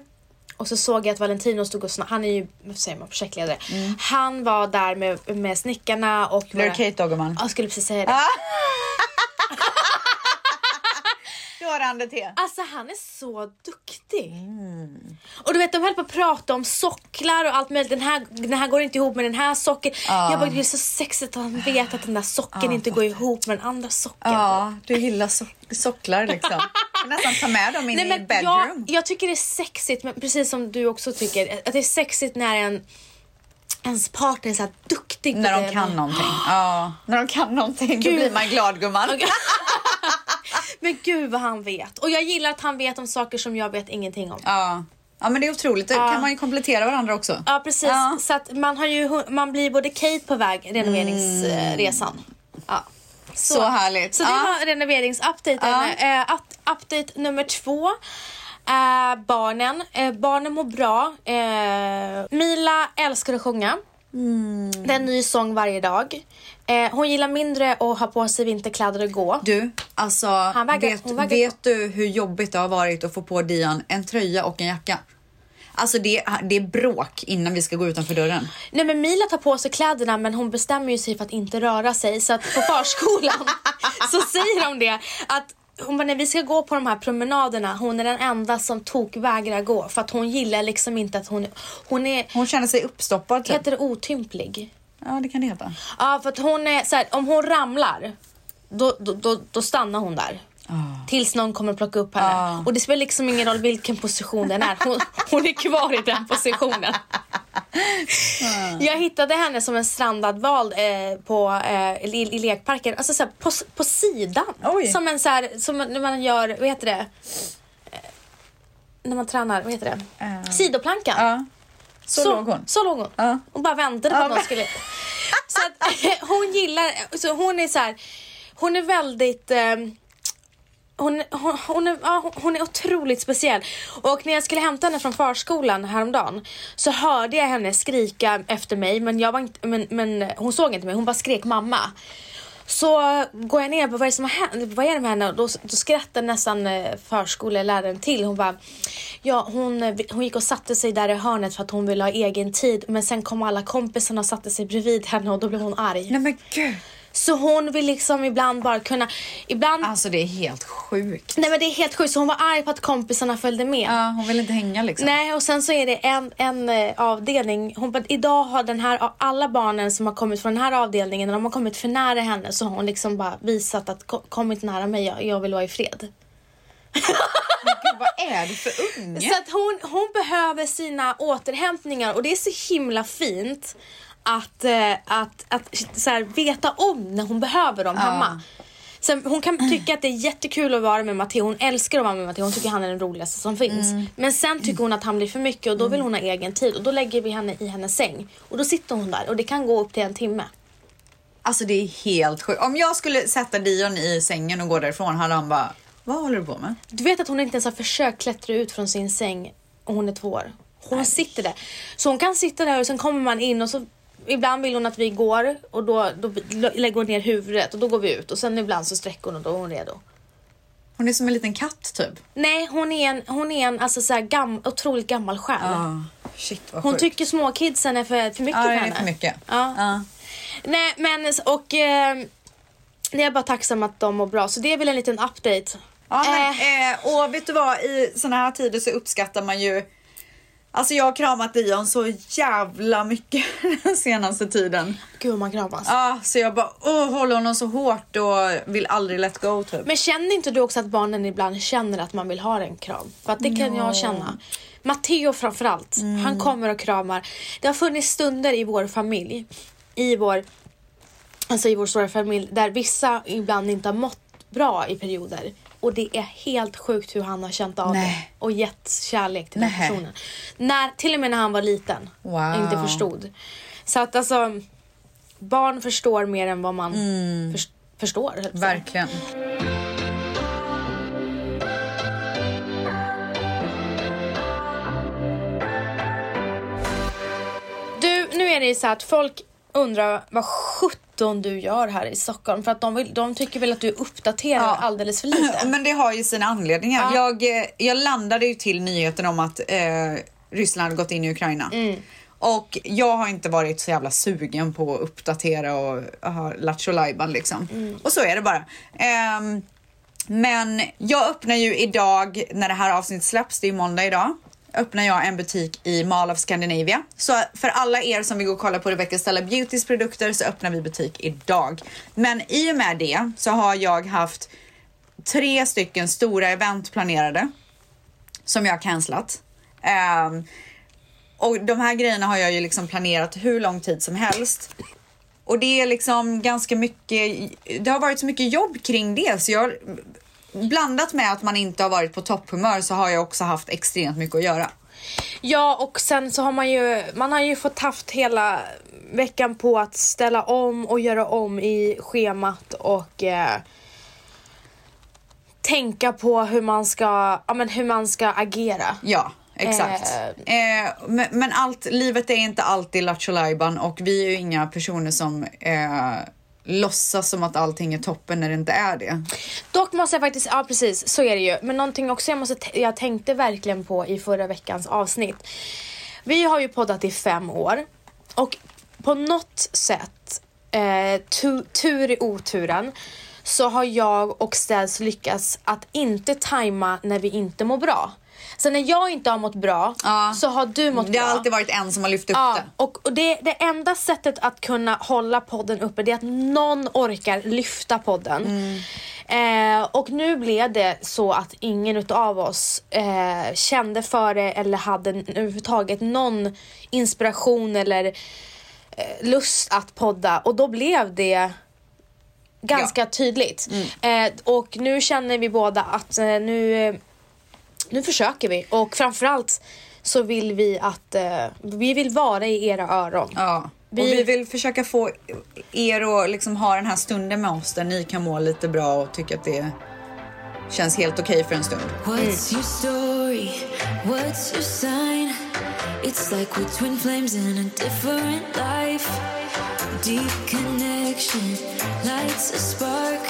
Speaker 2: Och så såg jag att Valentino stod och sna- han är ju, vad säger man, projektledare.
Speaker 1: Mm.
Speaker 2: Han var där med, med snickarna och...
Speaker 1: Blir det
Speaker 2: våra-
Speaker 1: okej då gumman?
Speaker 2: Ja, Jag skulle precis säga det.
Speaker 1: Rörande te.
Speaker 2: Alltså han är så duktig. Mm. Och du vet de höll på att prata om socklar och allt möjligt. Den här, den här går inte ihop med den här socken. Jag bara det är så sexigt att han vet att den där socken inte går ihop med den andra socken.
Speaker 1: Ja, du gillar sock- socklar liksom. Du kan nästan ta med dem in
Speaker 2: Nej,
Speaker 1: i
Speaker 2: men jag,
Speaker 1: bedroom.
Speaker 2: jag tycker det är sexigt, men precis som du också tycker, att det är sexigt när en, ens partner är så här duktig. på
Speaker 1: När
Speaker 2: det.
Speaker 1: de kan någonting. Ja, när de kan någonting då
Speaker 2: Gud.
Speaker 1: blir man glad gumman.
Speaker 2: Men gud vad han vet. Och jag gillar att han vet om saker som jag vet ingenting om.
Speaker 1: Ja. ja, men det är otroligt. Då kan man ju komplettera varandra också.
Speaker 2: Ja precis, så att man, har ju, hu- man blir både Kate på väg renoveringsresan. Ja.
Speaker 1: Mm. Så, härligt.
Speaker 2: Så det
Speaker 1: Ja.
Speaker 2: var renoveringsupdaten. Eh, up- update nummer två. är barnen. Eh, barnen mår bra. Eh, Mila älskar att sjunga.
Speaker 1: Mm.
Speaker 2: Det är en ny sång varje dag. Eh, hon gillar mindre att ha på sig vinterkläder och gå.
Speaker 1: Du, alltså
Speaker 2: vägrar-
Speaker 1: vet,
Speaker 2: hon vägrar-
Speaker 1: vet du hur jobbigt det har varit att få på Dian en tröja och en jacka? Alltså det, det är bråk innan vi ska gå utanför dörren.
Speaker 2: Nej men Mila tar på sig kläderna men hon bestämmer ju sig för att inte röra sig så att på förskolan så säger de det att hon bara, när vi ska gå på de här promenaderna, hon är den enda som tok vägrar gå för att hon gillar liksom inte att hon, hon är,
Speaker 1: Hon känner sig uppstoppad typ.
Speaker 2: heter det otymplig?
Speaker 1: Ja, det kan det heta.
Speaker 2: Ja för att hon är så här, om hon ramlar då, då, då, då stannar hon där. Tills någon kommer plocka upp henne.
Speaker 1: Ah.
Speaker 2: Och det spelar liksom ingen roll vilken position den är. Hon, hon är kvar i den positionen. Jag hittade henne som en strandad val eh, på, eh, i, i lekparken. Alltså så här, på, s- på sidan.
Speaker 1: Oj.
Speaker 2: Som en så här, som när man gör, vad heter det? Eh, När man tränar, vad heter det?
Speaker 1: Eh.
Speaker 2: Sidoplankan.
Speaker 1: Ja. Så låg hon?
Speaker 2: Så låg hon.
Speaker 1: Ja.
Speaker 2: Hon bara väntade på
Speaker 1: Ja,
Speaker 2: att någon
Speaker 1: men-
Speaker 2: skulle... Så att, [laughs] eh, hon gillar... Så hon är så här... Hon är väldigt... Eh, hon, hon, hon, är, ja, hon- hon är otroligt speciell. Och när jag skulle hämta henne från förskolan häromdagen så hörde jag henne skrika efter mig men, jag var inte, men, men hon såg inte mig, hon bara skrek mamma. Så går jag ner och bara, vad är det som har hänt? Vad är det med henne? Och då, då skrattar nästan eh, förskoleläraren till. Hon bara, ja hon, eh, hon gick och satte sig där i hörnet för att hon ville ha egen tid men sen kom alla kompisarna och satte sig bredvid henne och då blev hon arg.
Speaker 1: Nej men gud.
Speaker 2: Så hon vill liksom ibland bara kunna, ibland
Speaker 1: Alltså det är helt sjukt.
Speaker 2: Nej men det är helt sjukt, så hon var arg på att kompisarna följde med.
Speaker 1: Ja, hon vill inte hänga liksom.
Speaker 2: Nej och sen så är det en, en eh, avdelning, hon bara, idag har den här, alla barnen som har kommit från den här avdelningen, när de har kommit för nära henne så har hon liksom bara visat att "Ko- kom inte nära mig, jag, jag vill vara i fred.
Speaker 1: Gud, vad är du för unge?
Speaker 2: [laughs] Så att hon, hon behöver sina återhämtningar och det är så himla fint att, eh, att, att så här, veta om när hon behöver dem hemma. Sen, hon kan tycka att det är jättekul att vara med Matteo, hon älskar att vara med Matteo, hon tycker han är den roligaste som finns. Men sen tycker hon att han blir för mycket och då vill hon ha egen tid och då lägger vi henne i hennes säng. Och då sitter hon där och det kan gå upp till en timme.
Speaker 1: Alltså det är helt sjukt. Om jag skulle sätta Dion i sängen och gå därifrån hade han bara, vad håller du på med?
Speaker 2: Du vet att hon inte ens har försökt klättra ut från sin säng och hon är två år. Hon sitter där. Så hon kan sitta där och sen kommer man in och så ibland vill hon att vi går och då, då lägger hon ner huvudet och då går vi ut och sen ibland så sträcker hon och då är hon redo.
Speaker 1: Hon är som en liten katt typ.
Speaker 2: Nej, hon är en, hon är en alltså så här gam, otroligt gammal själ.
Speaker 1: Ja. Ah, Shit vad
Speaker 2: Hon
Speaker 1: sjukt.
Speaker 2: tycker småkidsen är för, för mycket
Speaker 1: Ja,
Speaker 2: för
Speaker 1: det är
Speaker 2: henne.
Speaker 1: för mycket.
Speaker 2: Ja.
Speaker 1: Ja.
Speaker 2: Nej, men s- och eh, det är bara tacksam att de mår bra. Så det är väl en liten update.
Speaker 1: Ja, men,
Speaker 2: Eh,
Speaker 1: eh, och vet du vad, i såna här tider så uppskattar man ju Alltså jag har kramat Dion så jävla mycket [laughs] den senaste tiden.
Speaker 2: Gud vad man kramas.
Speaker 1: Ja, så jag bara åh, håller honom så hårt och vill aldrig let go typ.
Speaker 2: Men känner inte du också att barnen ibland känner att man vill ha en kram? För att det kan jag känna. Matteo framförallt,
Speaker 1: Mm.
Speaker 2: han kommer och kramar. Det har funnits stunder i vår familj, i vår, alltså i vår stora familj, där vissa ibland inte har mått bra i perioder. Och det är helt sjukt hur han har känt av
Speaker 1: Nej.
Speaker 2: det och gett kärlek till
Speaker 1: Nej.
Speaker 2: den personen. När, till och med när han var liten,
Speaker 1: Wow.
Speaker 2: inte förstod. Så att alltså, barn förstår mer än vad man förs- förstår. höll jag på att säga.
Speaker 1: Mm. Verkligen.
Speaker 2: Du, nu är det ju så att folk undrar vad sjutton du gör här i Stockholm för att de, vill, de tycker väl att du uppdaterar
Speaker 1: Ja. Mm.
Speaker 2: alldeles för
Speaker 1: [laughs]
Speaker 2: lite.
Speaker 1: Men det har ju sina anledningar. Jag, eh, jag landade ju till nyheten om att eh, Ryssland hade gått in i Ukraina.
Speaker 2: Mm.
Speaker 1: Och jag har inte varit så jävla sugen på att uppdatera och ha lattjo lajban liksom.
Speaker 2: Mm.
Speaker 1: Och så är det bara. Ehm, men jag öppnar ju idag, när det här avsnittet släpps, det är ju måndag idag, öppnar jag en butik i Mall of Scandinavia. Så för alla er som vill gå och kolla på Rebecca Stella Beautys produkter så öppnar vi butik idag. Men i och med det så har jag haft tre stycken stora event planerade som jag har cancelat. Ehm, och de här grejerna har jag ju liksom planerat hur lång tid som helst. Och det är liksom ganska mycket, det har varit så mycket jobb kring det så jag har- blandat med att man inte har varit på topphumör så har jag också haft extremt mycket att göra.
Speaker 2: Ja, och sen så har man ju, man har ju fått haft hela veckan på att ställa om och göra om i schemat och eh, tänka på hur man ska, ja men hur man ska agera.
Speaker 1: Ja, exakt. Eh, men, men allt, livet är inte alltid lattjo lajban och vi är ju inga personer som eh, låtsas som att allting är toppen när det inte är det.
Speaker 2: Dock måste jag faktiskt, ja precis så är det ju. Men någonting också jag, måste, t- jag tänkte verkligen på i förra veckans avsnitt. Vi har ju poddat i fem år och på något sätt, eh, tu, tur i oturen, så har jag och Ställs lyckats att inte tajma när vi inte mår bra. Så när jag inte har mått bra
Speaker 1: Ja.
Speaker 2: så har du mått
Speaker 1: Det
Speaker 2: bra.
Speaker 1: har alltid varit en som har lyft upp
Speaker 2: Ja,
Speaker 1: det.
Speaker 2: och, och det, det enda sättet att kunna hålla podden uppe det är att någon orkar lyfta podden. Eh, och nu blev det så att ingen utav oss eh, kände för det eller hade n- överhuvudtaget någon inspiration eller eh, lust att podda och då blev det ganska tydligt. Eh, och nu känner vi båda att eh, nu eh, nu försöker vi och framförallt så vill vi att eh, vi vill vara i era öron.
Speaker 1: Ja. Och
Speaker 2: Vi-
Speaker 1: vi vill försöka få er att liksom ha den här stunden med oss där ni kan må lite bra och tycka att det känns helt okej för en stund.
Speaker 3: What's your story? What's your sign? It's like we're twin flames in a different life. Deep connection lights a spark.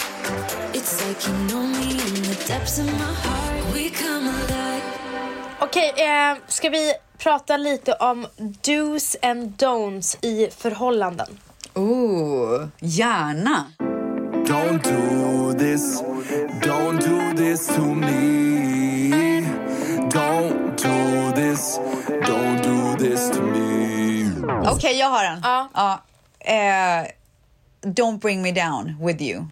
Speaker 3: It's like you know me in the depths of my heart. We come alive.
Speaker 2: Okej, eh, ska vi prata lite om do's and don'ts i förhållanden?
Speaker 1: Ooh, gärna.
Speaker 4: Don't do this. Don't do this to me. Don't do this. Don't do this to me.
Speaker 1: Okej, jag har en.
Speaker 2: Mm. Ja.
Speaker 1: Eh, don't bring me down with you.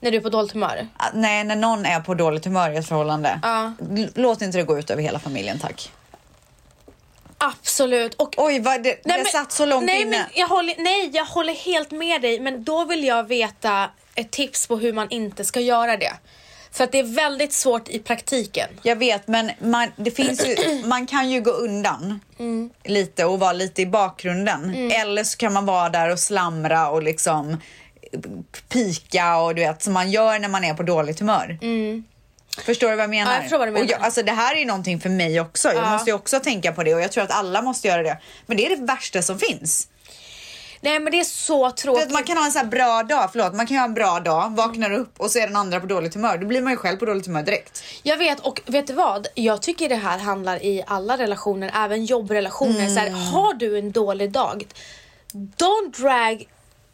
Speaker 2: När du är på dåligt humör?
Speaker 1: Ah, nej, när någon är på dåligt humör i ett förhållande.
Speaker 2: Ja.
Speaker 1: L- Låt inte det gå ut över hela familjen, tack.
Speaker 2: Absolut. Och
Speaker 1: Oj, vad det, det
Speaker 2: men-
Speaker 1: satt så långt
Speaker 2: nej,
Speaker 1: inne.
Speaker 2: Men jag håller, nej, jag håller helt med dig, men då vill jag veta ett tips på hur man inte ska göra det. För att det är väldigt svårt i praktiken.
Speaker 1: Jag vet, men man, det finns
Speaker 2: [clears throat]
Speaker 1: ju, man kan ju gå undan
Speaker 2: Mm.
Speaker 1: lite och vara lite i bakgrunden. Eller så kan man vara där och slamra och liksom pika och du vet, som man gör när man är på dåligt humör. Förstår du vad jag menar?
Speaker 2: Mm. Ja, jag förstår vad du menar.
Speaker 1: Och jag, alltså, det här är ju någonting för mig också. Jag
Speaker 2: Ja.
Speaker 1: måste ju också tänka på det och jag tror att alla måste göra det. Men det är det värsta som finns.
Speaker 2: Nej, men det är så
Speaker 1: För
Speaker 2: tråkigt.
Speaker 1: att man kan ha en så här bra dag, förlåt, man kan ha en bra dag, vaknar upp och så är den andra på dåligt humör. Då blir man ju själv på dåligt humör direkt.
Speaker 2: Jag vet och vet du vad? Jag tycker det här handlar i alla relationer, även jobbrelationer. Så
Speaker 1: Mm.
Speaker 2: här, har du en dålig dag, don't drag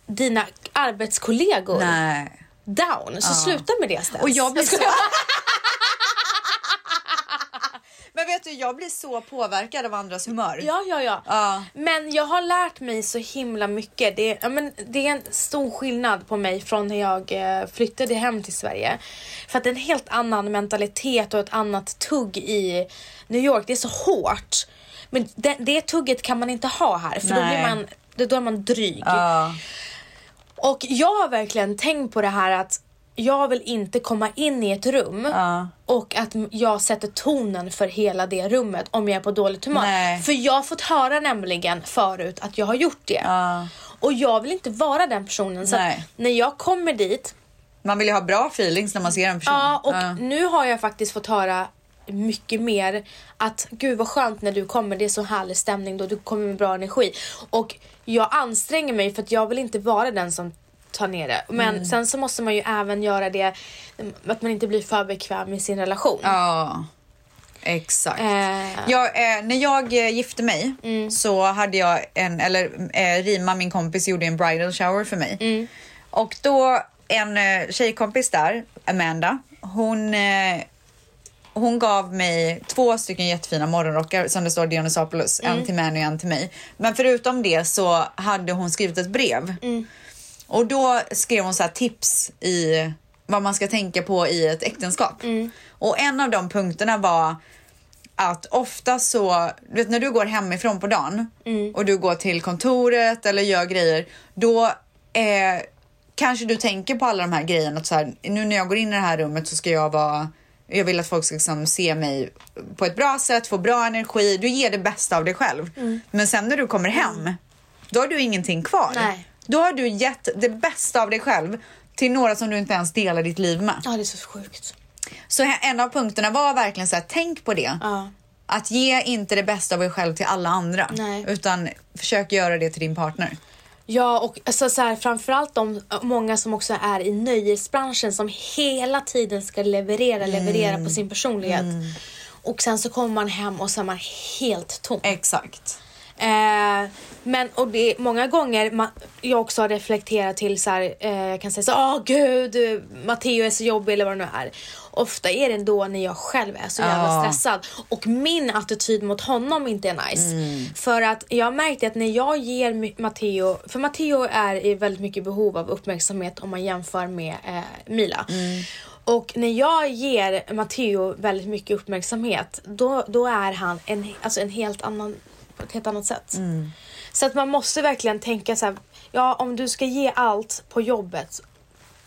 Speaker 2: dina arbetskollegor
Speaker 1: Nej.
Speaker 2: down. Så sluta med det Stens.
Speaker 1: Och jag blir så... [laughs] Men vet du, jag blir så påverkad av andras humör.
Speaker 2: Ja, ja, ja.
Speaker 1: Ja.
Speaker 2: Men jag har lärt mig så himla mycket. Det är, ja, men det är en stor skillnad på mig från när jag eh, flyttade hem till Sverige. För att det är en helt annan mentalitet och ett annat tugg i New York. Det är så hårt. Men det, det tugget kan man inte ha här för då,
Speaker 1: Nej.
Speaker 2: blir man, då då är man dryg.
Speaker 1: Ja.
Speaker 2: Och jag har verkligen tänkt på det här att jag vill inte komma in i ett rum
Speaker 1: Ja.
Speaker 2: och att m- jag sätter tonen för hela det rummet om jag är på dåligt humör.
Speaker 1: Nej.
Speaker 2: För jag har fått höra nämligen förut att jag har gjort det.
Speaker 1: Ja.
Speaker 2: Och jag vill inte vara den personen. Så att
Speaker 1: Nej.
Speaker 2: när jag kommer dit,
Speaker 1: Man vill ju ha bra feelings när man ser en person.
Speaker 2: ja och
Speaker 1: Ja.
Speaker 2: nu har jag faktiskt fått höra mycket mer att gud vad skönt när du kommer, det är så härlig stämning då, du kommer med bra energi. Och jag anstränger mig för att jag vill inte vara den som tar ner det. Men
Speaker 1: Mm.
Speaker 2: sen så måste man ju även göra det, mm, att man inte blir för bekväm i sin relation.
Speaker 1: Ja, exakt.
Speaker 2: Eh.
Speaker 1: Jag, eh, när jag eh, gifte mig så hade jag en, eller eh, Rima min kompis gjorde en bridal shower för mig. Och då en eh, tjejkompis där, Amanda, hon eh, hon gav mig två stycken jättefina morgonrockar som det står Dionysopoulos, en till Manu och en till mig. Men förutom det så hade hon skrivit ett brev. Och då skrev hon så här tips i vad man ska tänka på i ett äktenskap. Och en av de punkterna var att ofta så, du vet när du går hemifrån på dagen och du går till kontoret eller gör grejer, då eh, kanske du tänker på alla de här grejerna. Att så här, nu när jag går in i det här rummet så ska jag vara, jag vill att folk ska liksom se mig på ett bra sätt, få bra energi. Du ger det bästa av dig själv. Men sen när du kommer hem, då har du ingenting kvar.
Speaker 2: Nej.
Speaker 1: Då har du gett det bästa av dig själv till några som du inte ens delar ditt liv med.
Speaker 2: Ja, det är så sjukt.
Speaker 1: Så he- en av punkterna var verkligen så här, tänk på det.
Speaker 2: Ja.
Speaker 1: Att ge inte det bästa av er själv till alla andra.
Speaker 2: Nej.
Speaker 1: Utan försök göra det till din partner.
Speaker 2: Ja, och alltså, så här, framförallt de många som också är i nöjesbranschen som hela tiden ska leverera, leverera på sin personlighet. Och sen så kommer man hem och så är man helt tom.
Speaker 1: Exakt.
Speaker 2: Eh, men och det är många gånger man, jag också har reflekterat till så här, eh, jag kan säga så åh gud, eh, Matteo är så jobbig eller vad det nu är. Ofta är det ändå när jag själv är så jävla
Speaker 1: Ja.
Speaker 2: stressad och min attityd mot honom inte är nice. För att jag märkte att när jag ger Mi- Matteo, för Matteo är i väldigt mycket behov av uppmärksamhet om man jämför med eh, Mila. Och när jag ger Matteo väldigt mycket uppmärksamhet då, då är han en, alltså en helt annan, på ett helt annat sätt. Så att man måste verkligen tänka så här, ja om du ska ge allt på jobbet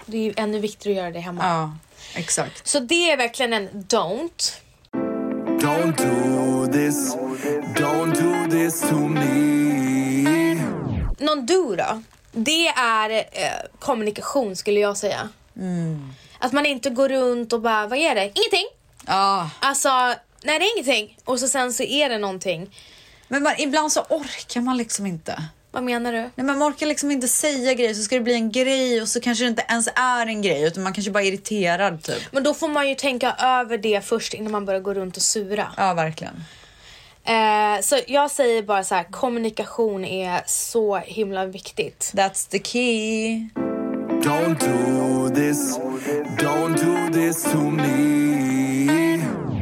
Speaker 2: det är ju ännu viktigare att göra det hemma.
Speaker 1: Ja, exakt.
Speaker 2: Så det är verkligen en don't.
Speaker 4: Don't do this. Don't do this to me.
Speaker 2: Någon du då? Det är eh, kommunikation skulle jag säga. Att man inte går runt och bara, vad är det? Ingenting!
Speaker 1: Ja.
Speaker 2: Alltså, nej det är ingenting. Och så sen så är det någonting.
Speaker 1: Men man, ibland så orkar man liksom inte.
Speaker 2: Vad menar du?
Speaker 1: Nej, men man orkar liksom inte säga grejer så ska det bli en grej och så kanske det inte ens är en grej utan man kanske bara är irriterad typ.
Speaker 2: Men då får man ju tänka över det först innan man börjar gå runt och sura.
Speaker 1: Ja, verkligen.
Speaker 2: Eh, så jag säger bara så här, kommunikation är så himla viktigt.
Speaker 1: That's the key.
Speaker 4: Don't do this. Don't do this to me.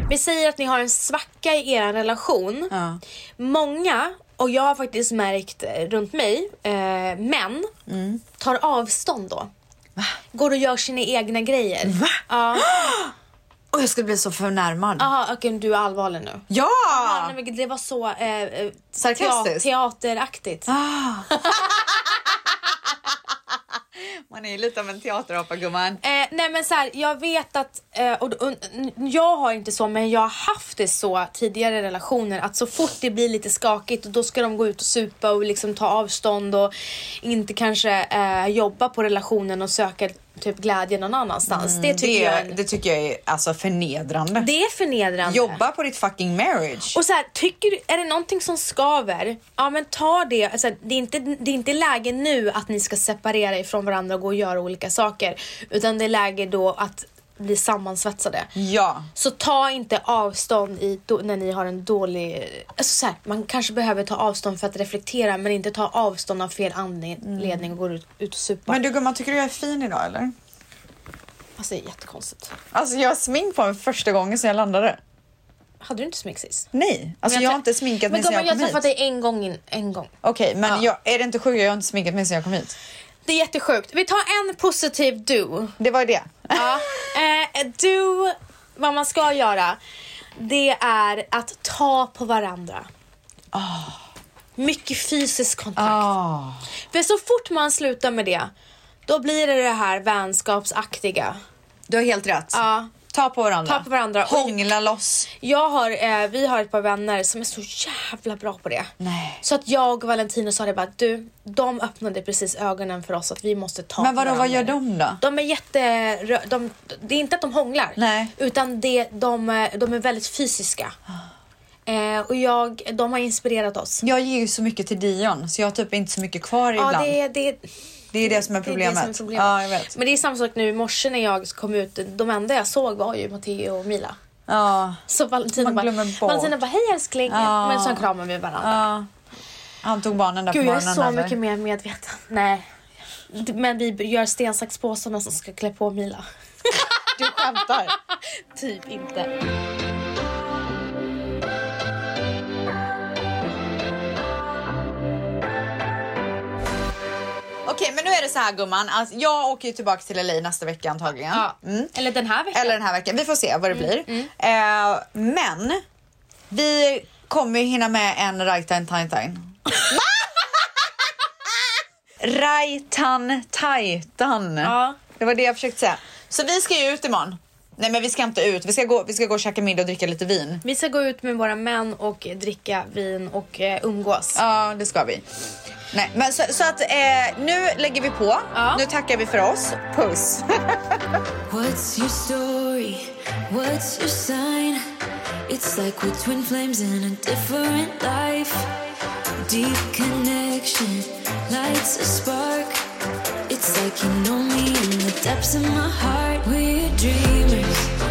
Speaker 2: Vi säger att ni har en svacka i er relation.
Speaker 1: Ja.
Speaker 2: Många, och jag har faktiskt märkt eh, runt mig, eh, män
Speaker 1: Mm.
Speaker 2: tar avstånd då. Går och gör sina egna grejer. Va? Ja,
Speaker 1: Och jag skulle bli så förnärmad.
Speaker 2: Aha, okej du är allvarlig nu.
Speaker 1: Ja!
Speaker 2: Ja, nej, men det var så eh, eh,
Speaker 1: Sarkastiskt?
Speaker 2: tea- teateraktigt.
Speaker 1: Man är ju lite av en teaterapa gumman.
Speaker 2: Eh, nej men så här, jag vet att, eh, och, och, jag har inte så men jag har haft det så tidigare i relationer att så fort det blir lite skakigt och då ska de gå ut och supa och liksom ta avstånd och inte kanske eh, jobba på relationen och söka typ glädje någon annanstans. det tycker
Speaker 1: Mm, Det,
Speaker 2: jag
Speaker 1: är-
Speaker 2: är,
Speaker 1: det tycker jag är alltså förnedrande.
Speaker 2: det är förnedrande.
Speaker 1: Jobba på ditt fucking marriage.
Speaker 2: Och så här, tycker du, är det någonting som skaver, ja men ta det. Alltså, det, är inte, det är inte läge nu att ni ska separera ifrån varandra och gå och göra olika saker. Utan det är läge då att bli sammansvetsade.
Speaker 1: Ja.
Speaker 2: Så ta inte avstånd i, då, när ni har en dålig... Alltså så här, man kanske behöver ta avstånd för att reflektera men inte ta avstånd av fel anledning och gå ut, ut och supa.
Speaker 1: Mm. Men du gumman, tycker du jag är fin idag eller?
Speaker 2: Alltså det är jättekonstigt.
Speaker 1: Alltså jag har smink på mig första gången sedan jag landade.
Speaker 2: Hade du inte smink sist?
Speaker 1: Nej, alltså
Speaker 2: Men
Speaker 1: jag, har
Speaker 2: trä-
Speaker 1: inte sminkat mig
Speaker 2: men
Speaker 1: sedan
Speaker 2: gumman,
Speaker 1: jag
Speaker 2: jag
Speaker 1: kom
Speaker 2: har träffat
Speaker 1: hit.
Speaker 2: dig en gång. In, en gång.
Speaker 1: Okej, men jag, är det inte sjukt? Jag har inte sminkat mig sedan jag kom hit.
Speaker 2: Det är jättesjukt. Vi tar en positiv do.
Speaker 1: Det var ju det.
Speaker 2: Ja. [laughs] Eh, du, vad man ska göra, det är att ta på varandra. Mycket fysisk kontakt.
Speaker 1: Ah.
Speaker 2: För så fort man slutar med det, då blir det det här vänskapsaktiga.
Speaker 1: Du har helt rätt.
Speaker 2: Ja.
Speaker 1: Ah. Ta på varandra.
Speaker 2: Ta på varandra.
Speaker 1: Hångla loss.
Speaker 2: Jag har, eh, vi har ett par vänner som är så jävla bra på det.
Speaker 1: Nej.
Speaker 2: Så att jag och Valentino sa det bara, du, de öppnade precis ögonen för oss att vi måste ta
Speaker 1: Men
Speaker 2: på
Speaker 1: vadå, vad
Speaker 2: varandra.
Speaker 1: gör de då?
Speaker 2: De är jätte... rö- De, det är inte att de hånglar.
Speaker 1: Nej.
Speaker 2: Utan det, de, eh, de är väldigt fysiska.
Speaker 1: Ah.
Speaker 2: Eh, och jag, de har inspirerat oss.
Speaker 1: Jag ger ju så mycket till Dion så jag har typ inte så mycket kvar
Speaker 2: Ja,
Speaker 1: ibland.
Speaker 2: det, är- det, är-
Speaker 1: Det är det som är
Speaker 2: det är det
Speaker 1: problemet.
Speaker 2: som är problemet.
Speaker 1: Ja, jag vet.
Speaker 2: Men det är samma sak nu i morse när jag kom ut. De enda jag såg var ju Matteo och Mila.
Speaker 1: Ja.
Speaker 2: Så Valentina
Speaker 1: Man
Speaker 2: bara,
Speaker 1: glömmer bort.
Speaker 2: Valentina bara, hej älskling.
Speaker 1: Ja.
Speaker 2: Men så kramar vi varandra.
Speaker 1: ja. Han tog barnen där
Speaker 2: Gud,
Speaker 1: på
Speaker 2: jag är
Speaker 1: morgonen.
Speaker 2: så
Speaker 1: eller?
Speaker 2: mycket mer medveten. Nej. Men vi gör sten, sax, påse som ska klä på Mila.
Speaker 1: Du skämtar.
Speaker 2: Typ inte.
Speaker 1: [laughs] Okej, men nu är det så här gumman. Alltså, jag åker ju tillbaka till LA nästa vecka antagligen.
Speaker 2: Ja. Mm,
Speaker 1: Mm.
Speaker 2: Eller den här veckan.
Speaker 1: Eller den här veckan. Vi får se vad det blir. Eh, men vi kommer ju hinna med en Raitan
Speaker 2: [laughs]
Speaker 1: Taitan. Raitan Taitan.
Speaker 2: Ja.
Speaker 1: Det var det jag försökte säga. Så vi ska ju ut imorgon. Nej men vi ska inte ut. Vi ska gå, vi ska gå och käka middag och dricka lite vin.
Speaker 2: Vi ska gå ut med våra män och dricka vin och eh, umgås.
Speaker 1: Ja, det ska vi. Nej, men så, så att eh, nu lägger vi på.
Speaker 2: Ja.
Speaker 1: Nu tackar vi för oss. Puss.
Speaker 3: What's your story? What's your sign? It's like we're twin flames in a different life. Deep connection lights a spark. It's like you know me in the depths of my heart. We're dreamers,